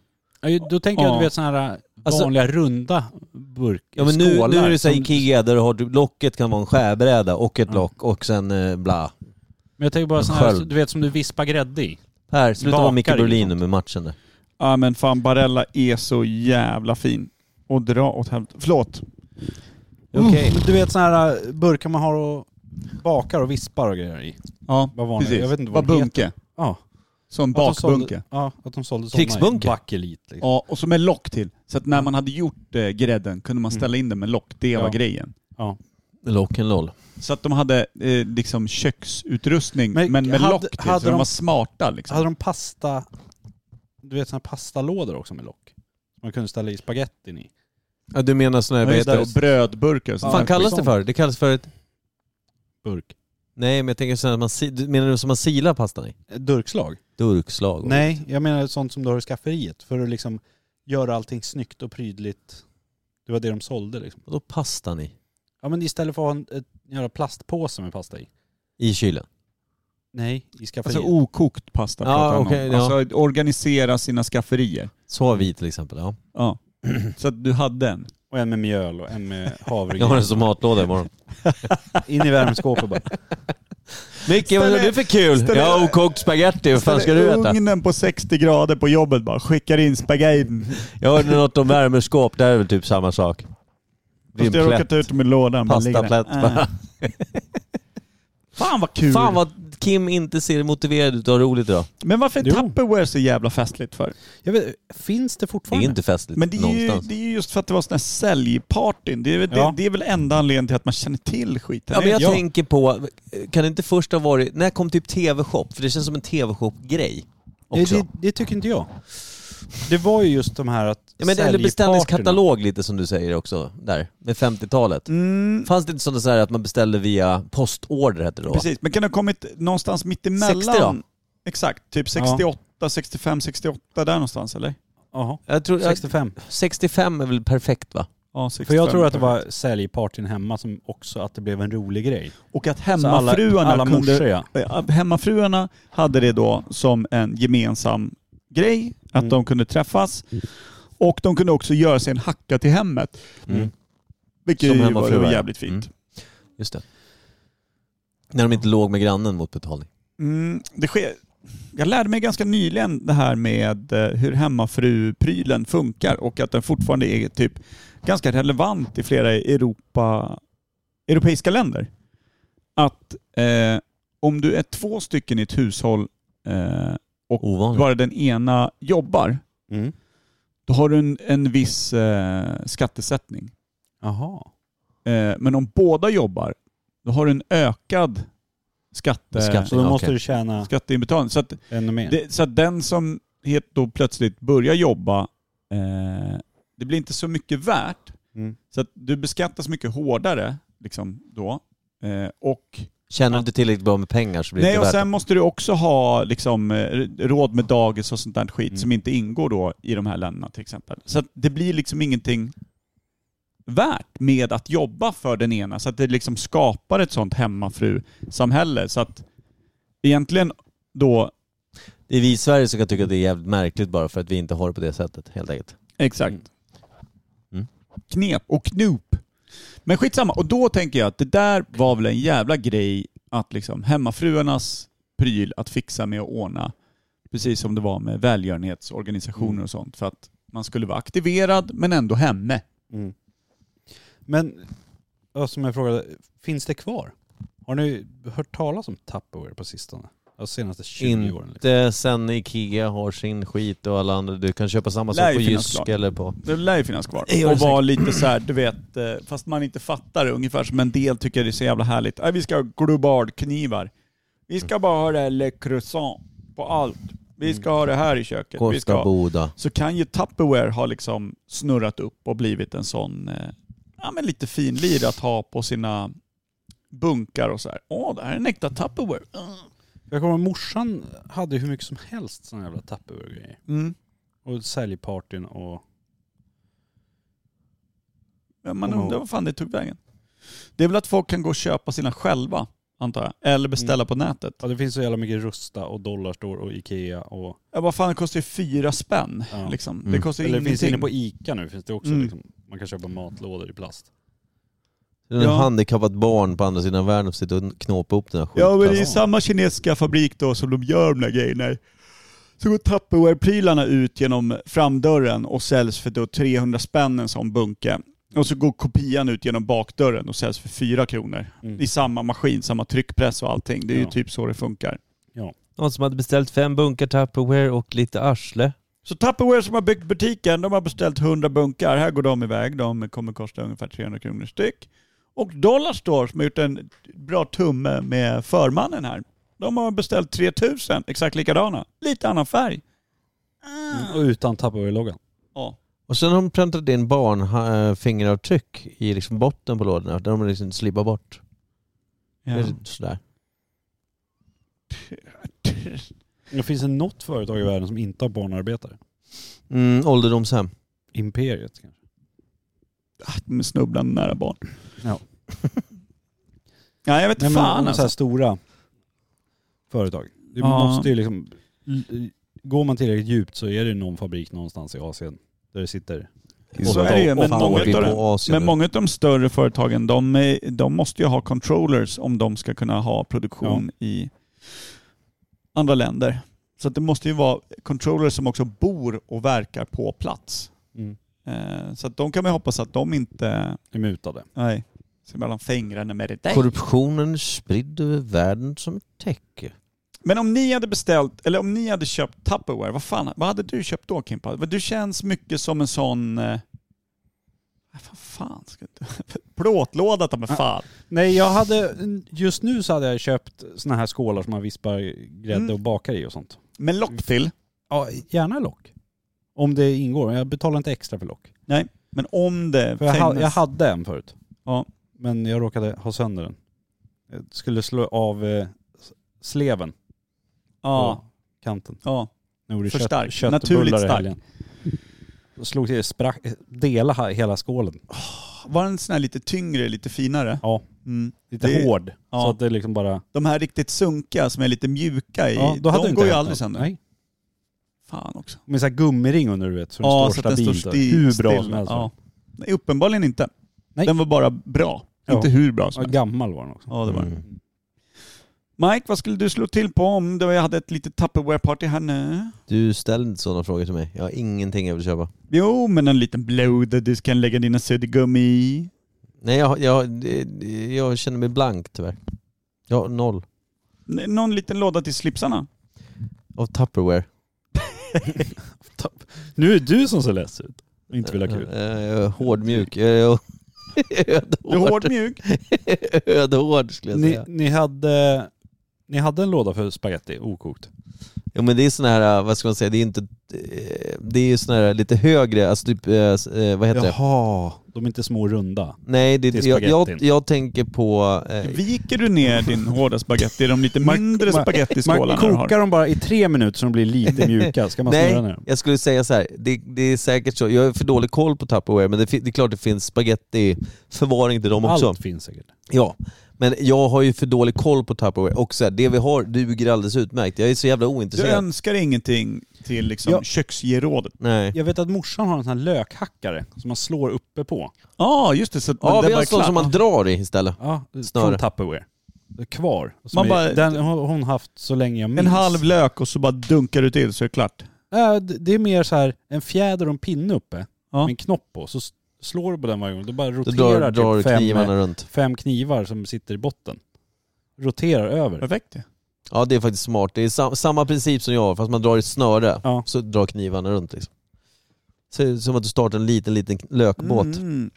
B: Ja, ju- Då tänker jag
C: Ja.
B: du vet sådana här
A: Alltså-
B: vanliga runda burk,
A: Ja men nu, nu
B: skålar
A: är det så här
B: som-
A: Ikea där du har, locket kan vara en skärbräda och ett
B: Ja.
A: lock och sen eh, bla.
B: Men jag tänker bara
A: En
B: sådana här,
A: sköld.
B: du vet som du vispar grädde i.
A: Här, sluta
B: Bakar
A: vara Micke
B: i
A: Berlin nu
B: sånt.
A: med matchen där.
C: Ja men fan, Barella är så jävla fin. Och dra åt helvete. Förlåt.
A: Okej.
B: Mm. Du vet sådana här äh, burkar man har och bakar och vispar och grejer i.
C: Ja,
B: Vad vanligt.
C: precis.
B: Jag vet inte
C: vad
B: vad de heter.
C: bunke.
B: Ja.
C: Som
B: Att de sålde-
C: bakbunke.
B: Ja, att de sålde sådana.
A: Krigsbunker.
B: Bakelit liksom.
C: Ja, och som en lock till. Så att när man hade gjort eh, grädden kunde
A: Mm.
C: man ställa in den med lock. Det var
B: Ja.
C: grejen.
B: Ja.
A: Lock and roll.
C: Så att de hade eh, liksom köksutrustning men,
B: Men
C: med
B: hade-
C: lock till.
B: hade
C: så de
B: de-
C: var smarta liksom.
B: Hade de pasta, du vet såna här pastalådor också med lock? Som man kunde ställa i spagettin i.
A: Ja, du menar sån här,
C: Ja,
A: vad
C: just
A: heter
C: det, och
A: det?
C: brödburkar
A: Vad
C: och sånt
A: fan
C: där.
A: kallas det för? Det kallas för ett...
B: Burk.
A: Nej men jag tänker sån här, man, si- du menar du som man silar pastan i?
B: Eh, Durkslag?
A: Durkslag? och-
B: Nej, jag menar sånt som du har i skafferiet. För att liksom göra allting snyggt och prydligt. Det var det de sålde liksom.
A: Vadå pastan i?
B: Ja men istället för att ha en ett, jävla plastpåse med pasta i.
A: I kylen?
B: Nej, i skafferiet.
C: Alltså okokt pasta
A: Ja,
C: pratar han
A: okej,
C: om.
A: ja.
C: Alltså organisera sina skafferier.
A: Så har vi till exempel, ja.
C: Ja. Så att du hade en.
B: och en med mjöl och en med
A: Jag har
B: havregryn.
A: den som matlåda imorgon.
B: In i värmeskåpet bara.
A: Micke, vad är det för kul?
C: ställ-
A: jag har okokt spagetti, vad fan ska du äta?
C: Ugnen på 60 grader på jobbet bara. Skickar in spagetin.
A: Jag hörde något om värmeskåp, där är väl typ samma sak. Det är en
C: Fast jag har
A: plätt.
C: råkat ut dem i lådan. bara ligger där.
A: Pastaplätt bara.
C: Äh. Fan vad kul.
A: Fan vad Kim inte ser motiverad ut och har roligt idag.
C: Men varför är
B: Jo.
C: Tupperware så jävla festligt för?
B: Jag vet, finns det
A: Det är
B: fortfarande?
A: inte festligt
C: Men det är, ju,
A: någonstans.
C: det är ju just för att det var sådana här säljpartyn. Det, är väl- det,
B: Ja.
C: det är väl enda anledningen till att man känner till skiten.
A: Ja, men jag
C: Ja.
A: tänker på, kan det inte först ha varit, när kom typ TV-shop? För det känns som en TV-shop-grej
B: Nej,
A: också.
B: det, det tycker inte jag. Det var ju just de här att
A: Ja, men, eller
B: säljparterna-
A: beställningskatalog lite som du säger också, där, med 50-talet.
C: Mm,
A: Fanns det inte sådana så här att man beställde via postorder hette det då?
C: precis, men kan det ha kommit någonstans mitt
A: 60 då?
C: emellan? Exakt, typ 68, 65, 68 där någonstans eller?
B: Jaha.
A: Jag tror,
B: 65.
A: 65 är väl perfekt va?
C: Ja,
B: För jag tror att det
C: 65.
B: var säljpartyn hemma som också att det blev en rolig grej.
C: Och att
B: Så alla,
C: hemmafruarna
B: alla
C: kunde...
B: morsor ja.
C: Eh, Hemmafruarna hade det då som en gemensam grej, att
B: Mm.
C: de kunde träffas. Och de kunde också göra sig en hacka till hemmet.
A: Mm.
C: Vilket
A: Som
C: ju var
A: hemmafruar,
C: var
A: ja.
C: jävligt
B: Mm.
C: fint.
A: Mm. Just det. När de inte låg med grannen mot betalning.
C: Mm, det sker. Jag lärde mig ganska nyligen det här med eh, hur hemmafruprylen funkar och att den fortfarande är typ ganska relevant i flera Europa, europeiska länder. Att eh, om du är två stycken i ett hushåll eh,
A: Ovanligt.
C: bara den ena jobbar,
B: Mm.
C: då har du en, en viss eh, skattesättning.
B: Jaha.
C: Eh, men om båda jobbar, då har du en ökad skatte,
A: Skatt.
B: Eh, Så då
A: Ja,
B: måste
A: okej.
B: du tjäna
C: skatteinbetalning. Så att
B: ännu mer.
C: Det, så att den som helt då plötsligt börjar jobba, eh, det blir inte så mycket värt.
B: Mm.
C: Så att du beskattas mycket hårdare liksom då. Eh, och,
A: Känner du inte tillräckligt bra med pengar så blir det
C: nej,
A: inte
C: och
A: värt
C: sen
A: det.
C: måste du också ha liksom, eh, råd med dagis och sånt där skit
B: Mm.
C: som inte ingår då i de här länderna till exempel. Så att det blir liksom ingenting värt med att jobba för den ena. Så att det liksom skapar ett sånt hemmafru-samhälle. Så att egentligen då
A: Det är vi i Sverige som kan tycka att det är jävligt märkligt bara för att vi inte har det på det sättet helt enkelt.
C: Exakt.
A: Mm.
C: Knep och knop. Men skitsamma. Och då tänker jag att det där var väl en jävla grej att liksom hemmafruarnas pryl att fixa med och ordna. Precis som det var med välgörenhetsorganisationer
A: Mm.
C: och sånt. För att man skulle vara aktiverad men ändå hemme.
B: Mm. Men, ja, som jag frågade, finns det kvar? Har ni hört talas om Tupperware på sistone? De senaste 20
A: Inte.
B: åren? Liksom.
A: Det, sen Ikea har sin skit och alla andra. Du kan köpa samma sak
C: Lär ju
A: på
C: finnas
A: Jysk
C: kvar.
A: eller på...
C: Det lär ju finnas kvar.
A: Det gör det
C: Och vara lite så här, du vet, eh, fast man inte fattar det, ungefär som en del tycker det är så jävla härligt. Äh, vi ska ha globardknivar. Vi ska bara ha det här le croissant på allt. Vi ska ha det här i köket. Vi
A: Kosta
C: ska ha
A: Boda.
C: så kan ju Tupperware ha liksom snurrat upp och blivit en sån, eh, ja men lite finlir att ha på sina bunkar och så här. Åh, det här är en äkta Tupperware.
B: Jag kommer ihåg morsan hade ju hur mycket som helst sådana jävla Tupperware-grejer.
C: Mm.
B: Och säljpartyn och...
C: Men man undrar vad fan det tog vägen. Det är väl att folk kan gå och köpa sina själva, antar jag. Eller
B: Mm.
C: beställa på nätet.
B: Ja, det finns så jävla mycket Rusta och Dollarstore och Ikea och...
C: Ja, vad fan, det kostar ju fyra spänn.
B: Ja.
C: Liksom.
A: Mm.
C: Det kostar
B: Eller
C: ingenting.
B: finns det inne på Ica nu, finns det också
C: Mm.
B: liksom, man kan köpa matlådor i plast.
A: Det är en
C: Ja.
A: handikappat barn på andra sidan världen som sitter och knåpar upp den här skiten.
C: Ja, men det är ju
A: alltså.
C: samma kinesiska fabrik då som de gör de där grejerna i. Så går Tupperware-prylarna ut genom framdörren och säljs för då 300 spänn en sån bunke. Och så går kopian ut genom bakdörren och säljs för 4 kronor.
B: Mm.
C: I samma maskin, samma tryckpress och allting. Det är ju
B: Ja.
C: typ så det funkar.
A: Någon som hade beställt fem bunkar Tupperware och lite arsle.
C: Så Tupperware som har byggt butiken, de har beställt 100 bunkar. Här går de iväg. De kommer kosta ungefär 300 kronor styck. Och Dollarstore som har gjort en bra tumme med förmannen här. De har beställt 3000 exakt likadana. Lite annan färg.
B: Mm. Och utan Tupperware-loggan.
C: Ja.
A: Och sen har de präntat in barnfingeravtryck i liksom botten på lådorna. Där de liksom slibbar bort.
C: Ja.
A: Det är Sådär.
B: Det finns det något företag i världen som inte har barnarbetare?
A: Mm, ålderdomshem.
B: Imperiet kanske?
C: Med snubblande nära barn.
B: Ja.
C: Nej, jag vet
B: Nej,
C: inte
B: men
C: fan
B: om så här
C: alltså.
B: stora företag. Det
C: Ja.
B: måste ju liksom... Går man tillräckligt djupt så är det någon fabrik någonstans i Asien där det sitter...
C: Så är det ju. Men
A: Fan,
C: många
A: vad vi
C: utav
A: är
C: dem-
A: på Asien
C: Men
A: nu.
C: många av de större företagen, de, är- de måste ju ha controllers om de ska kunna ha produktion i andra länder. Så att det måste ju vara controllers som också bor och verkar på plats.
B: Mm.
C: Eh, Så att de kan man ju hoppas att de inte,
B: är mutade.
C: nej, ser mellan fingrarna med det där.
A: Korruptionen är spridd över världen som ett täcke.
C: Men om ni hade beställt, eller om ni hade köpt Tupperware, vad fan, vad hade du köpt då Kimpa? Du känns mycket som en sån... eh, Vad fan ska du... Plåtlåda ta mig fan.
B: Nej, jag hade... Just nu så hade jag köpt såna här skålar som man vispar grädde
C: Mm.
B: och bakar i och sånt.
C: Men lock till.
B: Ja, gärna lock. Om det ingår. Jag betalar inte extra för lock.
C: Men om det...
B: För jag, ha,
C: famous-
B: jag hade en förut.
C: Ja.
B: Men jag råkade ha eh, sönder den. Jag skulle slå av eh, s- sleven
C: ja.
B: kanten.
C: Ja.
B: Nu gjorde
C: För
B: kött-
C: stark.
B: köttbullar
C: Naturligt
B: i
C: stark.
B: helgen. Och Slog till, sprack, eh, dela he- hela skålen.
C: Var den sån här lite tyngre, lite finare?
B: Ja.
C: Mm.
B: Lite
C: Det-
B: hård.
C: ja.
B: Så att det liksom bara...
C: De här riktigt sunkiga som är lite mjuka i,
B: Ja, då hade det
C: de
B: inte
C: går ju
B: hänt
C: aldrig
B: något.
C: sönder.
B: Nej.
C: Fan också.
B: Med så här gummiring under du vet, så den
C: ja,
B: står
C: så att den står
B: stabilt. och
C: still.
B: hur bra
C: still.
B: som helst. alltså.
C: Ja. Nej, uppenbarligen inte.
B: Nej.
C: Den var bara bra.
B: Ja.
C: Inte hur bra som
B: Ja,
C: helst.
B: gammal var den också.
C: Ja, det var den.
A: Mm.
C: Mike, vad skulle du slå till på om det var, jag hade ett litet Tupperware-party här nu?
A: Du ställer inte sådana frågor till mig. Jag har ingenting jag vill köpa.
C: Jo, men en liten blöda du kan lägga dina suddgummi i.
A: Nej, jag, jag, det- jag känner mig blank tyvärr. Jag har noll.
C: N- Någon liten låda till slipsarna.
A: Av Tupperware.
B: Nu är du som ser less ut. och Inte vill ha kul.
A: Jag är Eh, hårdmjuk. Jag är
C: Du är
A: ödhård.
C: hård mjuk.
A: Ödhård skulle jag
B: Ni,
A: säga.
B: ni, hade, ni hade en låda för spaghetti okokt.
A: Jo men det är sån här, vad ska man säga, det är inte... eh, Det är ju sån här lite högre, alltså typ, eh, eh, vad heter det?
B: Jaha, de är inte små och runda.
A: Nej, det,
B: Till
A: jag, jag,
B: spagettin.
A: jag tänker på... Eh,
C: Viker du ner din hårda spagetti i de lite
B: Man-
C: mindre
B: man-
C: spagettiskålarna
B: Man
C: du har?
B: kokar dem bara i tre minuter så de blir lite mjuka. Ska man
A: Nej,
B: snurra ner dem?
A: jag skulle säga så här. Det, det är säkert så. Jag har för dålig koll på Tupperware, men det, fi- det är klart det finns spagettiförvaring till dem också.
B: Allt finns säkert.
A: Ja, men jag har ju för dålig koll på Tupperware och så här, det vi har duger alldeles utmärkt. Jag är så jävla
C: Du
A: ointresserad.
C: önskar ingenting till liksom
B: Ja.
C: köksgerådet?
A: Nej.
B: Jag vet att morsan har en sån här lökhackare som man slår uppe på.
C: Ja, just det. Så att
A: Ja,
C: den
A: vi har
C: bara
A: en sån som
C: klappar.
A: man drar i istället.
B: Ja,
A: Snarare.
B: från Tupperware. Det är Kvar. Som
C: Man
B: är,
C: bara-
B: den har hon haft så länge jag minns.
C: En halv lök och så bara dunkar du till så är det klart.
B: Äh, d- det är mer så här en fjäder och en pinne uppe
C: Ja.
B: med en knopp på. Så s- slår du på den varje gång. Då bara
A: Då
B: roterar
A: drar, drar
B: typ
A: du
B: fem,
A: knivarna runt.
B: fem knivar som sitter i botten. Roterar över.
C: Perfekt ju.
A: Ja, det är faktiskt smart. Det är sam, samma princip som jag har, fast man drar i ett snöre.
B: Ja.
A: Så drar knivarna runt liksom. Ser ut som att du startar en liten, liten lökbåt.
C: Mm.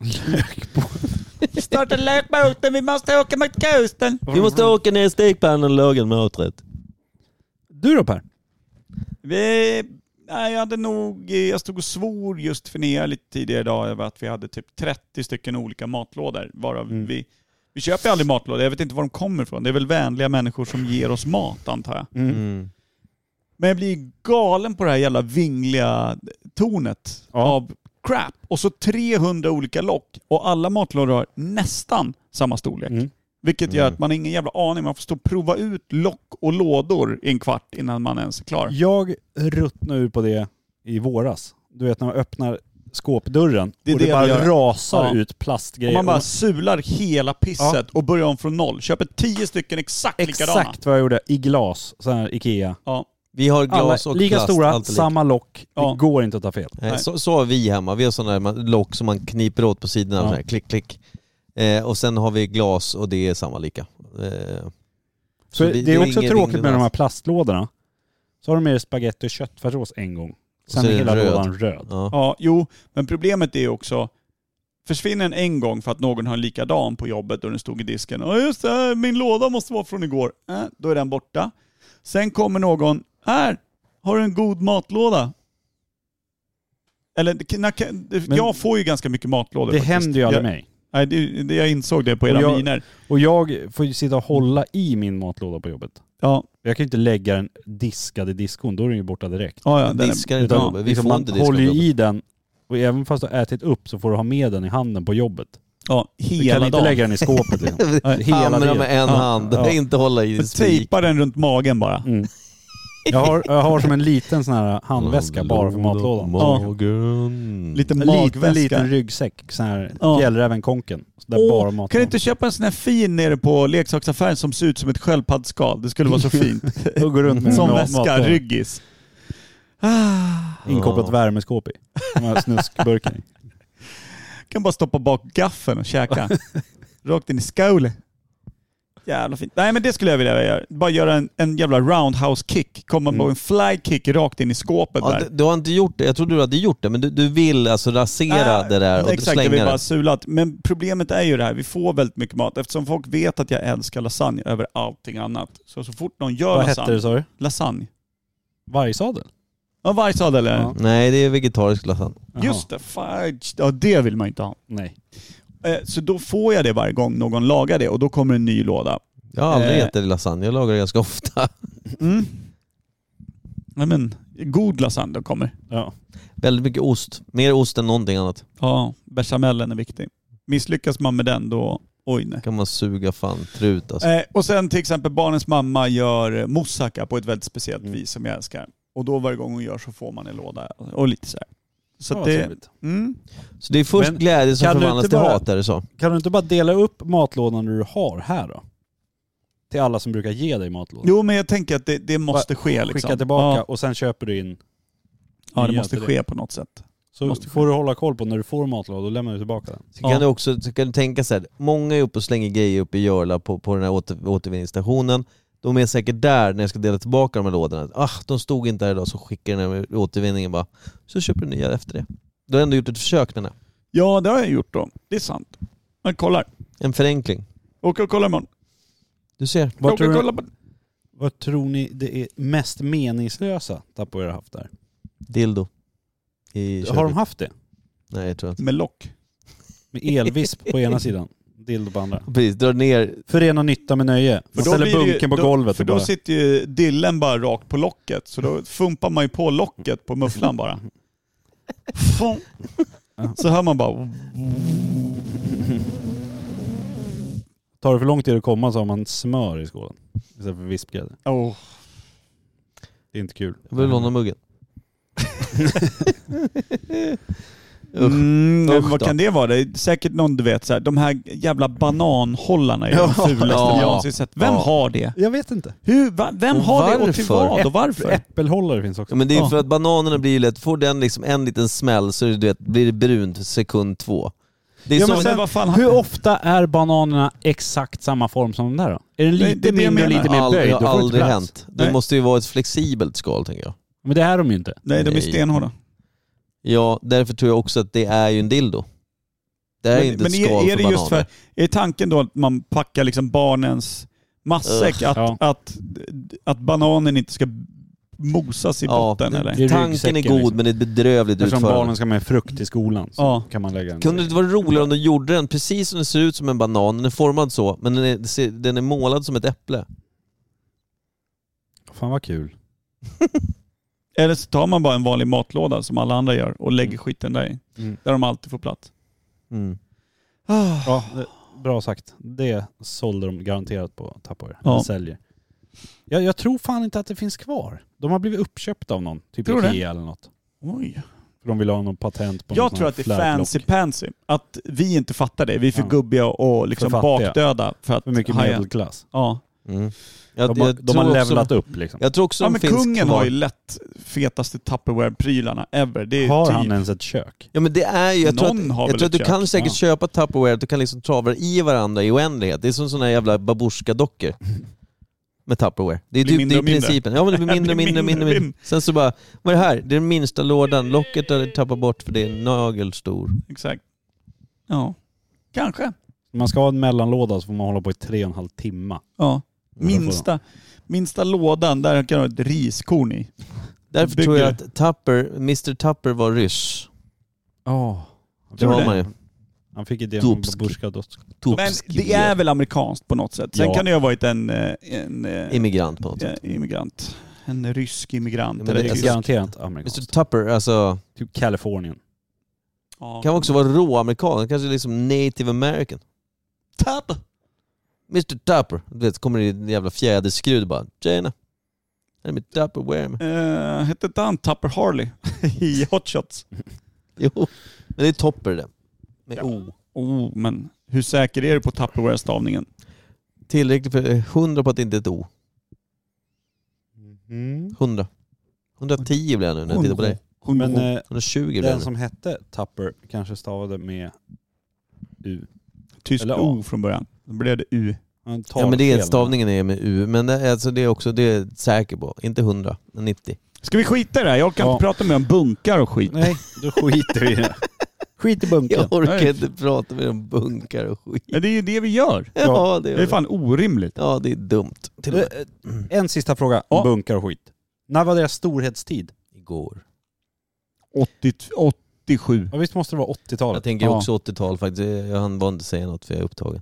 C: Starta lökbåten, vi måste åka mot kusten.
A: Vi måste åka ner i stekpannan och laga en maträtt.
B: Du då Per?
C: Vi, nej, jag hade nog, jag stod och svor just för Nea lite tidigare idag över att vi hade typ 30 stycken olika matlådor. Varav
B: Mm.
C: vi, vi köper ju aldrig matlådor, jag vet inte var de kommer ifrån. Det är väl vänliga människor som ger oss mat antar jag.
A: Mm.
C: Men jag blir galen på det här jävla vingliga tornet
B: Ja.
C: av crap. Och så 300 olika lock och alla matlådor har nästan samma storlek.
B: Mm.
C: Vilket gör
A: Mm.
C: att man har ingen jävla aning. Man får stå och prova ut lock och lådor i en kvart innan man ens är klar.
B: Jag ruttnade ur på det i våras. Du vet när man öppnar skåpdörren
C: Det är
B: och det,
C: det jag vill
B: bara
C: göra.
B: rasar
C: Ja.
B: ut plastgrejer.
C: Och man bara
B: Och-
C: sular hela pisset och börjar om från noll. Köper 10 stycken exakt, likadana.
B: Exakt vad jag gjorde i glas, sån här Ikea.
C: Ja.
A: Vi har glas
B: Alla,
A: och
B: lika
A: plast.
B: stora,
A: allt är lika.
B: samma lock.
C: Ja.
B: Det går inte att ta fel.
A: Nej.
C: Nej.
A: Så, så har vi hemma, vi har sådana där man- lock som man kniper åt på sidorna,
B: Ja.
A: så här, klick klick. Eh, och sen har vi glas och det är samma lika. Eh,
B: Så
A: vi-
B: det, är också
A: ingen
B: tråkigt med
A: ringel
B: de här
A: alls.
B: plastlådorna. Så har de med spagetti och köttfärssås en gång. Sen
A: så
B: är
A: är
B: hela
A: den röd.
B: lådan röd.
A: Ja.
C: Ja, jo, men problemet är också Försvinner den en gång för att någon har en likadan på jobbet och den stod i disken. Ja just det, här, min låda måste vara från igår. Äh, då är den borta. Sen kommer någon. Här, har du en god matlåda? Eller, det kan- när kan- det-
B: Men-
C: jag får ju ganska mycket matlådor
B: Det
C: faktiskt.
B: händer ju aldrig
C: jag,
B: mig.
C: nej, det, det, Jag insåg det på
B: Och
C: era
B: jag-
C: miner.
B: Och jag får ju sitta och hålla i min matlåda på jobbet.
C: Ja,
B: Jag kan ju inte lägga den diskad i diskon, då är den ju borta direkt.
C: ja, ja, den är-
A: Diskar inte
C: ja,
A: jobbet. vi
B: liksom
A: får
B: man
A: inte diska på
B: håller ju
A: jobbet.
B: i den och även fast du har ätit upp så får du ha med den i handen på jobbet.
C: ja,
B: Du
C: hela
B: kan inte
C: dagen.
B: lägga den i skåpet. Liksom. Hela
A: Hamra
B: tiden.
A: med en
B: Ja.
A: hand,
B: Ja. Typ.
A: inte hålla i spik.
C: Tejpa den runt magen bara.
B: Mm. Jag, har, jag har som en liten sån här handväska bara för matlådan.
A: Magen.
C: Lite
B: En liten,
C: magväska.
B: liten ryggsäck, sån här
C: Ja.
B: Fjällräven-konken. Så Där
C: Åh,
B: bara
C: Kan
B: matlådan.
C: du inte köpa en sån här fin nere på leksaksaffären som ser ut som ett sköldpaddsskal? Det skulle vara så fint.
B: Och gå runt med
C: som
B: mat-
C: väska,
B: matlåda.
C: ryggis. Ah,
B: Inkopplat värmeskåp i. De här snuskburkarna.
C: kan bara stoppa bak gaffeln och käka. Rakt in i skålen. Jävla fint. Nej men det skulle jag vilja göra. Bara göra en, en jävla roundhouse kick. Komma på en fly kick rakt in i skåpet
A: Mm. Ja,
C: där.
A: du, du har inte gjort det, jag trodde du hade gjort det, men du, du vill alltså rasera
C: Nej,
A: det där och
C: Exakt, jag
A: slänga
C: vill
A: det.
C: bara sulat. Men problemet är ju det här, vi får väldigt mycket mat. Eftersom folk vet att jag älskar lasagne över allting annat. Så så fort någon gör
B: Vad hette
C: lasagne...
B: det sa du?
C: Lasagne.
B: Vargsadel?
C: Ja, vargsadel är det.
B: Ja.
A: Nej, det är vegetarisk lasagne.
B: Jaha.
C: Just det, fudge. Ja, det vill man inte ha.
B: Nej.
C: Eh, Så då får jag det varje gång någon lagar det och då kommer en ny låda.
A: Jag har aldrig
C: Eh.
A: ätit lasagne, jag lagar det ganska ofta.
C: Mm. Nej, men god lasagne kommer.
J: Ja.
A: Väldigt mycket ost. Mer ost än någonting annat.
C: Ja, bechamelen är viktig. Misslyckas man med den då, oj nej.
A: kan man suga fan trut alltså.
C: Eh, och sen till exempel barnens mamma gör moussaka på ett väldigt speciellt vis som jag älskar. Och då varje gång hon gör så får man en låda och lite så här. Så att
J: vad
C: det,
J: trevligt.
C: mm,
A: Så det är först
B: Men
A: glädje som
B: kan du
A: förvandlas
B: inte
A: till
B: bara-
A: hat är det så?
B: Kan du inte bara dela upp matlådan du har här då? Till alla som brukar ge dig matlådan.
C: jo men jag tänker att det, det måste ske liksom.
B: Skicka tillbaka
C: Ja,
B: och sen köper du in.
C: ja det
B: nya
C: måste
B: till
C: ske på något sätt.
B: Så
C: Måste
B: får du hålla koll på när du får matlådan, då lämnar du tillbaka den.
A: Så kan du också så kan du tänka så här, många är uppe och slänger grejer uppe i Jörla på, på den här åter, återvinningsstationen. De är säkert där när jag ska dela tillbaka de här lådorna. Ah, de stod inte här idag, så skickar jag den här återvinningen bara. Så köper du nya efter det. Du har ändå gjort ett försök menar jag.
C: Ja det har jag gjort då. Det är sant. Jag kollar.
A: En förenkling.
C: Åker och kollar imorgon.
A: Du ser.
B: Vad
C: Åker
B: tror,
C: och
B: du,
C: kollar på...
B: vad tror ni det är mest meningslösa Tupperware har haft där?
A: Dildo. I
B: Har de
A: köket.
B: haft det?
A: Nej, jag tror inte.
C: Med lock.
B: Med elvisp på ena sidan, dildo på andra.
A: Precis, drar ner.
B: Förena nytta med nöje. Man ställer
C: blir det ju-
B: bunken på
C: då,
B: golvet
C: För
B: och
C: då
B: bara...
C: sitter ju dillen bara rakt på locket. Så då fumpar man ju på locket på mufflan bara. Fum. Så hör man bara...
B: Tar det för lång tid att komma så har man smör i skålen. Istället för vispgrädde.
C: Oh.
B: Det är inte kul.
A: Jag vill låna muggen. Usch.
C: Mm, men
A: Usch
C: vad
A: då.
C: kan det vara? Det är säkert någon du vet, så här, de här jävla bananhållarna är de
A: Ja.
C: fulaste
A: Ja.
C: jag någonsin sett. Vem
A: Ja.
C: har det?
B: Jag vet inte.
C: Hur, va, vem
A: Och
C: har det och till
A: varför?
C: vad och varför?
B: Äppelhållare finns också.
A: Ja, men det är ju
C: Ja.
A: för att bananerna blir ju lätt, får den liksom en liten smäll så är det, du vet, blir det brunt sekund två. Det är
B: Ja,
A: så,
B: men sen-
C: vad fan,
B: Hur ofta är bananerna exakt samma form som de där då? Är den
C: Nej,
B: lite
C: det är det jag
B: mindre och
C: menar.
B: lite mer
A: aldrig,
B: böjd?
A: det
B: då
A: har
B: får du inte
A: aldrig
B: plats.
A: hänt. Det
C: Nej.
A: måste ju vara ett flexibelt skal tänker jag.
B: Men det är de ju inte.
C: Nej, de är
A: Nej.
C: stenhårda.
A: Ja, därför tror jag också att det är ju en dildo. Det är inte ett skal
C: är, är
A: för
C: det
A: bananer.
C: just för, är tanken då att man packar liksom barnens matsäck, att,
J: Ja.
C: att, att bananen inte ska mosas i
A: Ja.
C: botten eller?
B: Det är
A: Tanken är
B: ryggsäcken,
A: god
B: liksom.
A: men det är ett bedrövligt
J: Eftersom
A: utförande.
J: barnen ska med frukt till skolan så
C: Ja.
J: kan man lägga den.
A: Kunde det inte vara roligare om de gjorde den precis som den ser ut som en banan, den är formad så, men den är, ser- den är målad som ett äpple.
B: Fan vad kul.
C: Eller så tar man bara en vanlig matlåda som alla andra gör och lägger skiten där i.
J: Mm.
C: Där de alltid får plats.
A: Mm.
B: Ja, det, bra sagt. Det sålde de garanterat på Tupperware.
C: Ja.
B: Ja. Säljer. Jag, jag tror fan inte att det finns kvar. De har blivit uppköpta av någon. Typ
C: Tror du det?
B: Ikea eller något.
C: Oj.
B: För de vill ha någon patent på någon
C: Jag
B: sån
C: tror
B: här
C: att det är
B: flärplock.
C: fancy pansy. Att vi inte fattar det. Vi är för
B: Ja.
C: gubbiga och liksom
B: För fattiga.
C: bakdöda för att
B: För mycket
C: haja.
B: medelklass.
C: Ja.
A: Mm. Jag,
B: De, har-
A: jag
B: de har
A: tror också-
B: levlat upp liksom.
A: Jag tror också
C: ja
A: de
C: men
A: finns
C: kungen
A: kvar.
C: har ju lätt fetaste Tupperware-prylarna ever. Det är
B: Har
C: typ-
B: han ens ett kök?
A: Ja men det är ju, jag tror
C: Någon
A: att,
C: har
A: jag
C: väl
A: tror att du
C: ett kök.
A: kan säkert
C: Ja.
A: köpa Tupperware, att du kan liksom trava i varandra i oändlighet. Det är som såna här jävla babusjkadockor. Med Tupperware. Det är typ det
C: Blir mindre
A: är
C: och mindre.
A: principen. Ja men det blir
C: Det
A: mindre och
C: blir
A: mindre och mindre,
C: mindre
A: och
C: och
A: mindre. Sen så bara, vad är det här? Det är den minsta lådan, locket har jag tappat bort för det är nagelstor.
C: Exakt. Ja. Kanske.
B: Man ska ha en mellanlåda så får man hålla på i tre och en halv timme.
C: Ja.
B: får de.
C: Minsta, minsta lådan, där kan du ha ett riskorn i.
A: Därför
C: Bygger
A: tror jag
C: det.
A: att Tupper, Mr Tupper var ryss.
B: Ja.
A: Det var man ju.
B: Han fick idén om
A: Topsk.
B: Burskadosk.
C: Men
A: Topsk
C: det är väl amerikanskt på något sätt. Sen
B: Ja.
C: kan det ju ha varit en, eh, en eh,
A: immigrant på något sätt.
C: eh, immigrant. En rysk immigrant.
A: Ja, men
C: eller
A: det Alltså- är
C: tysk.
B: Garanterat
A: Mr
B: amerikanskt.
A: Tupper, alltså,
B: Typ Kalifornien.
C: Ja.
A: kan också vara råamerikan, Han kanske är liksom native american.
C: Tub.
A: Mr Tupper. Du vet, kommer det en jävla fjäderskrud bara. Tjena. Här är mitt Tupperware. med."
C: Eh, hette inte han Tupper Harley i Hot Shots?
A: Jo, men det är Topper det. Med O.
C: Oh, men hur säker är du på Tupperware-stavningen?
A: Tillräckligt för eh, 100 på att det inte är ett O. 100. 110 blir jag nu när jag tittar på dig.
B: Men eh,
A: 120 blir jag
B: den
A: nu.
B: som hette Tupper kanske stavade med U.
C: Tyst
B: eller A.
C: O från början. Då blev det U.
B: Han tar
A: Ja men det är
B: fel.
A: stavningen är med U. Men det, alltså, det är också, det är jag säker på. Inte 100, men 90.
C: Ska vi skita i det här? Jag kan
B: Ja.
C: inte prata med om bunkar och skit.
B: Nej, då skiter vi i det. Skit i bunken.
A: Jag orkar
C: Nej.
A: inte prata med dem bunkar och skit.
C: Men det är ju det vi gör.
A: Ja, det
C: Det är
A: är,
C: fan orimligt.
A: ja, det är dumt. Till och med.
B: Eh, eh, En sista fråga om
C: Ja.
B: bunkar och skit. När var deras storhetstid?
A: Igår.
C: 80, 87.
B: Ja, visst måste det vara
A: Jag
B: 80-talet?
A: tänker
C: Ja.
A: också 80-tal faktiskt. Jag hann bara inte säga något för jag är upptagen.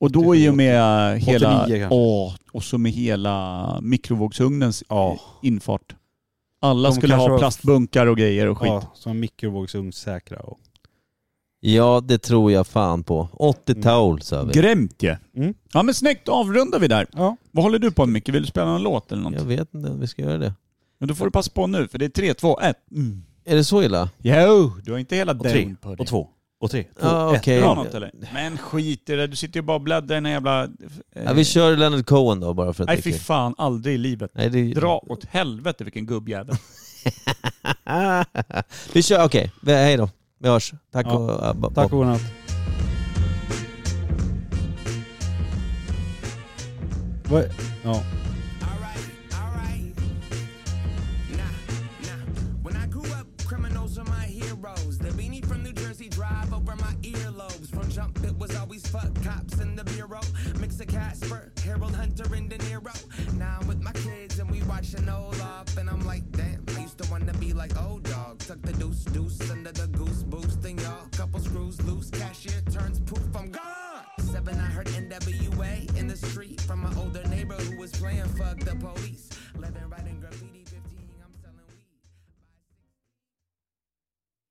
C: Och då i och med hela...
B: 89 kanske.
C: Åh, och så med hela mikrovågsugnens
B: Ja.
C: infart. Alla
D: De
C: skulle
D: kanske
C: ha
D: var-
C: plastbunkar och grejer och skit.
D: Ja, som mikrovågsugnssäkra och...
A: Ja, det tror jag fan på. 80 towel sa vi.
C: Grämt ju.
D: Mm.
C: Ja men snyggt, avrundar vi där.
D: Ja.
C: Vad håller du på med Micke? Vill du spela någon låt eller något?
A: Jag vet inte om vi ska göra det.
C: Men då får du passa på nu för det är 3, 2, 1. Mm.
A: Är det så illa?
C: Jo, du har inte hela den på dig.
B: Och två. Och tre. Två.
A: Ja, okej.
C: Bra något eller? Men skit i det, du sitter ju bara och bläddrar i den här jävla... eh,
A: Ja, vi kör Leonard Cohen då bara för att
C: Nej
A: det är
C: fy
A: kul.
C: fan, aldrig i livet.
A: Nej, det...
C: Dra åt helvete vilken gubbjävel.
A: vi kör, okej. Vi- Hej då. Vi hörs. Tack
D: Ja.
A: och... äh, bo-
D: Tack och godnatt. Vad... Ja.
E: Alright, alright. Nah, nah. When I grew up, criminals are my heroes. The beanie from New Jersey drive over my earlobes. From jump, it was always fuck cops in the bureau. Mix a Casper, Harold Hunter, and De Niro. Now I'm with my kids and we watching Olaf. And I'm like, damn, I used to wanna be like old dog. Tuck the deuce, deuce under the goose boost. And y'all, couple screws loose. Cashier turns poof, I'm gone. Seven, I heard NWA in the street from my older neighbor who was playing fuck the police. Living right